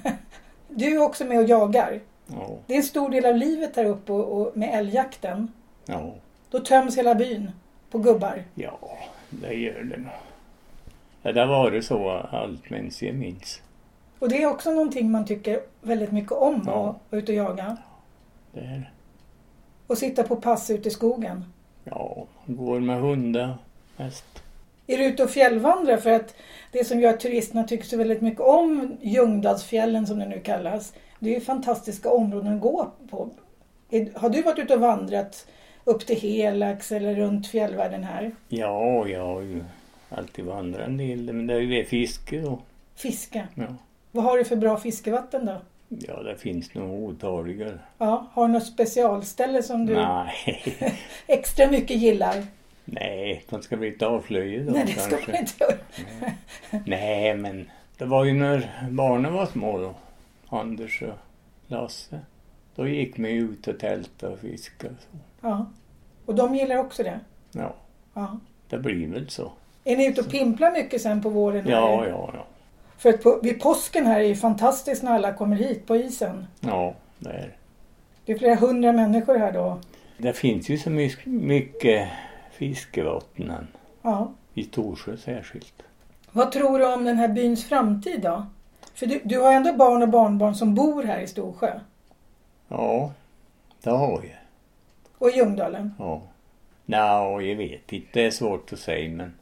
B: Du är också med och jagar.
C: Ja,
B: Det är en stor del av livet här uppe och, och med älgjakten.
C: ja,
B: Då töms hela byn på gubbar.
C: ja, det gör det nog. Ja, det har varit så allt medan jag minns.
B: Och det är också någonting man tycker väldigt mycket om,
C: Ja.
B: att vara ute och jaga.
C: Det är,
B: Och sitta på pass ute i skogen.
C: ja, man går med hundar mest.
B: Är du ute och fjällvandrar? För att det som gör att turisterna tycker så väldigt mycket om Ljungdalsfjällen som det nu kallas. Det är ju fantastiska områden att gå på. Är- Har du varit ute och vandrat upp till Helax eller runt fjällvärlden här?
C: Ja, jag har ju alltid vandrat en del, men det är ju det fiske då.
B: Fiska.
C: Ja,
B: Vad har du för bra fiskevatten då?
C: ja det finns nog otaliga.
B: Ja, har du något specialställe som du
C: Nej.
B: extra mycket gillar?
C: Nej, man ska bli inte avslöjad då
B: Nej, det ska
C: kanske.
B: man inte göra.
C: Nej, men det var ju när barnen var små då. Anders och Lasse. Då gick man ju ut och tältade och fiskade. och så.
B: Ja. Och de gillar också det?
C: Ja,
B: Ja.
C: det blir väl så.
B: Är ni ute och pimplar mycket sen på våren? här?
C: Ja, ja, ja.
B: För att på, vid påsken här är ju fantastiskt när alla kommer hit på isen.
C: Ja, det är det.
B: Det är flera hundra människor här då.
C: Det finns ju så my- mycket fiskevatten än.
B: Ja.
C: I Torsjö särskilt.
B: Vad tror du om den här byns framtid då? För du, du har ändå barn och barnbarn som bor här i Storsjö
C: Ja, det har jag.
B: och i Ljungdalen.
C: Ja. Nå, jag vet inte. Det är svårt att säga, men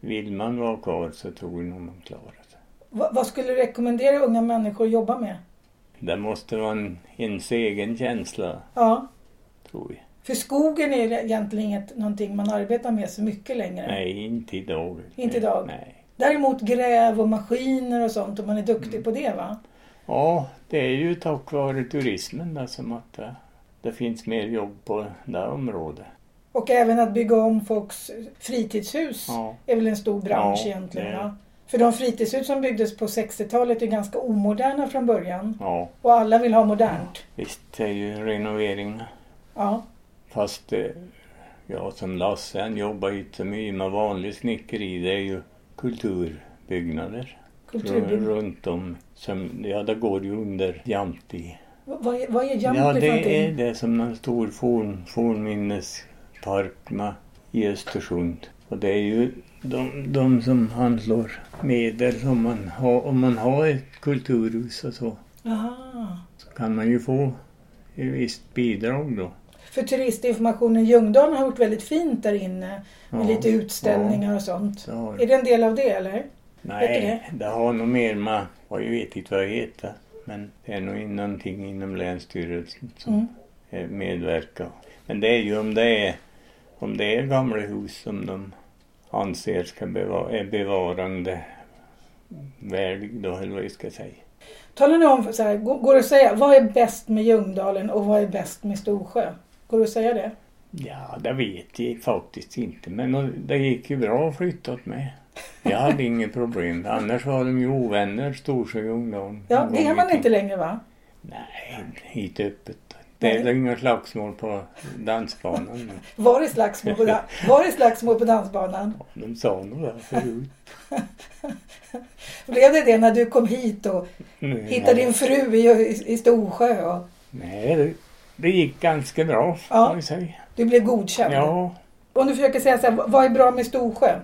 C: vill man vara kvar så tror jag nog man klarar det.
B: Va, vad skulle du rekommendera unga människor att jobba med?
C: Det måste vara en, ens egen känsla,
B: Ja,
C: tror jag.
B: för skogen är ju egentligen inget, någonting man arbetar med så mycket längre.
C: Nej, inte idag.
B: Inte idag?
C: Nej.
B: Däremot gräv och maskiner och sånt om man är duktig
C: Mm.
B: på det va?
C: Ja, det är ju tack vare turismen där som att det, det finns mer jobb på det här området.
B: Och även att bygga om folks fritidshus
C: Ja.
B: är väl en stor bransch
C: Ja,
B: egentligen.
C: det är-
B: Va? För de fritidshus som byggdes på 60-talet är ganska omoderna från början.
C: Ja,
B: Och alla vill ha modernt.
C: visst det är ju renoveringar.
B: Ja,
C: Fast eh, ja, som Lasse han jobbar ju inte så mycket med vanlig snickeri. Det är ju kulturbyggnader
B: kulturbyggnad.
C: runt om. Som, ja, det går ju under Jamti.
B: Va- Vad är, vad är Jamtli
C: Ja,
B: för
C: det är
B: någonting?
C: det som en stor forn, fornminnespark med, i Östersund. Och det är ju de, de som handlar medel. Om man, har, om man har ett kulturhus och så,
B: Aha.
C: så kan man ju få ett visst bidrag då.
B: För turistinformationen Ljungdalen har gjort väldigt fint där inne. Med
C: Ja,
B: lite utställningar och sånt.
C: Det har,
B: Är det en del av det eller?
C: nej,
B: heter
C: det har nog mer med, vad jag vet inte vad det heter, men det är nog någonting inom Länsstyrelsen som
B: Mm.
C: eh, medverkar. Men det är ju om det är, om det är gamla hus som de anser ska beva, är bevarande värdig då, eller vad jag ska säga.
B: Tala nu om, för- så här, går går det att säga, vad är bäst med Ljungdalen och vad är bäst med Storsjö? Går det att säga det?
C: Ja, det vet jag faktiskt inte, men det gick ju bra att flytta åt mig. Jag hade inget problem. Annars var de ju ovänner, Storsjö och Ljungdalen.
B: Ja,
C: En
B: det
C: gång
B: är
C: i
B: man
C: tiden.
B: inte längre va?
C: Nej, inte öppet. Det är
B: Nej.
C: inga slagsmål på dansbanan.
B: Var det slagsmål på, dan- var det slagsmål på dansbanan?
C: De sa nog det förut.
B: Blev det det när du kom hit och hittade din fru i, i, i Storsjö? Och
C: Nej, det, det gick ganska bra får
B: Ja.
C: man säga.
B: du blev godkänd?
C: Ja,
B: Om du försöker säga så här, vad är bra med Storsjö?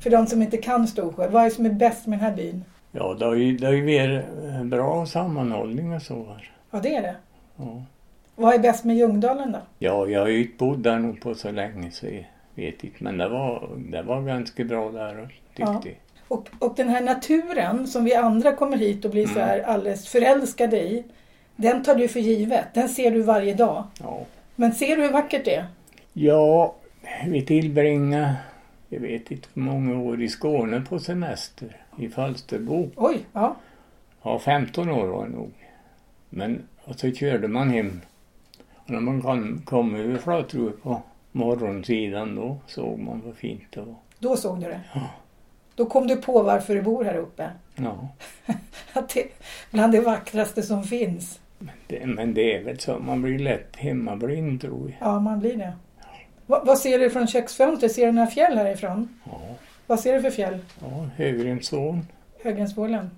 B: För de som inte kan Storsjö, vad är som är bäst med den här byn?
C: ja det har ju, det har ju varit eh, bra sammanhållning och så. här.
B: Ja, det är det.
C: Ja.
B: Vad är bäst med Ljungdalen då?
C: ja, jag har ju inte bott där nog på så länge så jag vet inte. Men det var, det var ganska bra där tyckte
B: Ja.
C: jag.
B: Och, och den här naturen som vi andra kommer hit och blir så
C: Mm.
B: här alldeles förälskade i. Den tar du för givet. Den ser du varje dag.
C: Ja.
B: Men ser du hur vackert det är?
C: ja, vi tillbringade, jag vet inte hur många år, i Skåne på semester. I Falsterbo.
B: Oj, ja.
C: Ja, 15 år var det nog. Men och så körde man hem. Och när man kom, kom över Flatruhe på morgonsidan då såg man vad fint det var.
B: Då såg du det.
C: Ja.
B: Då kom du på varför du bor här uppe.
C: Ja,
B: Att det är bland det vackraste som finns.
C: det, men det är väl så. Man blir lätt hemmablind tror jag.
B: Ja, man blir det. Va, vad ser du från köksfönstret? Ser du några fjäll härifrån?
C: Ja,
B: Vad ser du för fjäll?
C: ja Högrensån.
B: Högrensvålen?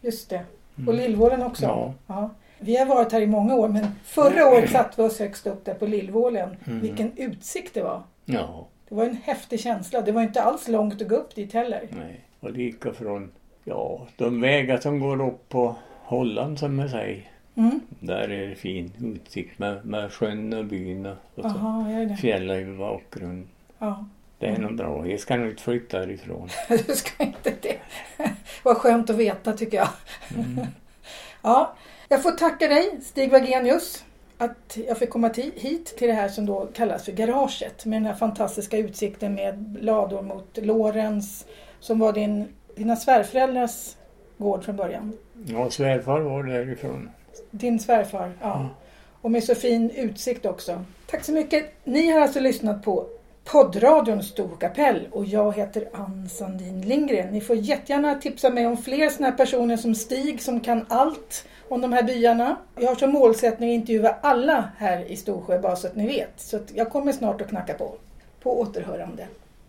B: Just det. Och Lillvålen också?
C: Mm. Ja.
B: Ja. Vi har varit här i många år men förra året satt vi oss högst upp där på Lillvålen.
C: Mm.
B: Vilken utsikt det var!
C: Ja,
B: Det var en häftig känsla. Det var inte alls långt att gå upp dit heller.
C: nej. Och lika från, ja, de vägar som går upp på Holland som jag säger.
B: Mm.
C: Där är det fin utsikt med, med sjön och byn och, och så.
B: Jaha, jag är det.
C: Fjällen i bakgrunden.
B: Ja.
C: Det är nog bra. Jag ska nog inte flytta härifrån.
B: Du ska inte det. Vad skönt att veta tycker jag. Ja, jag får tacka dig Stig Wagenius att jag fick komma ti- hit till det här som då kallas för garaget med den här fantastiska utsikten med lador mot Lorens som var din, dina svärföräldrars gård från början.
C: Ja, svärfar var därifrån.
B: Din svärfar, ja. Och med så fin utsikt också. Tack så mycket. Ni har alltså lyssnat på poddradion Storkapell och jag heter Ann Sandin Lindgren. Ni får jättegärna tipsa mig om fler sådana här personer som Stig som kan allt om de här byarna. Jag har som målsättning att intervjua alla här i Storsjö bara så att ni vet. Så att jag kommer snart att knacka på. På återhörande.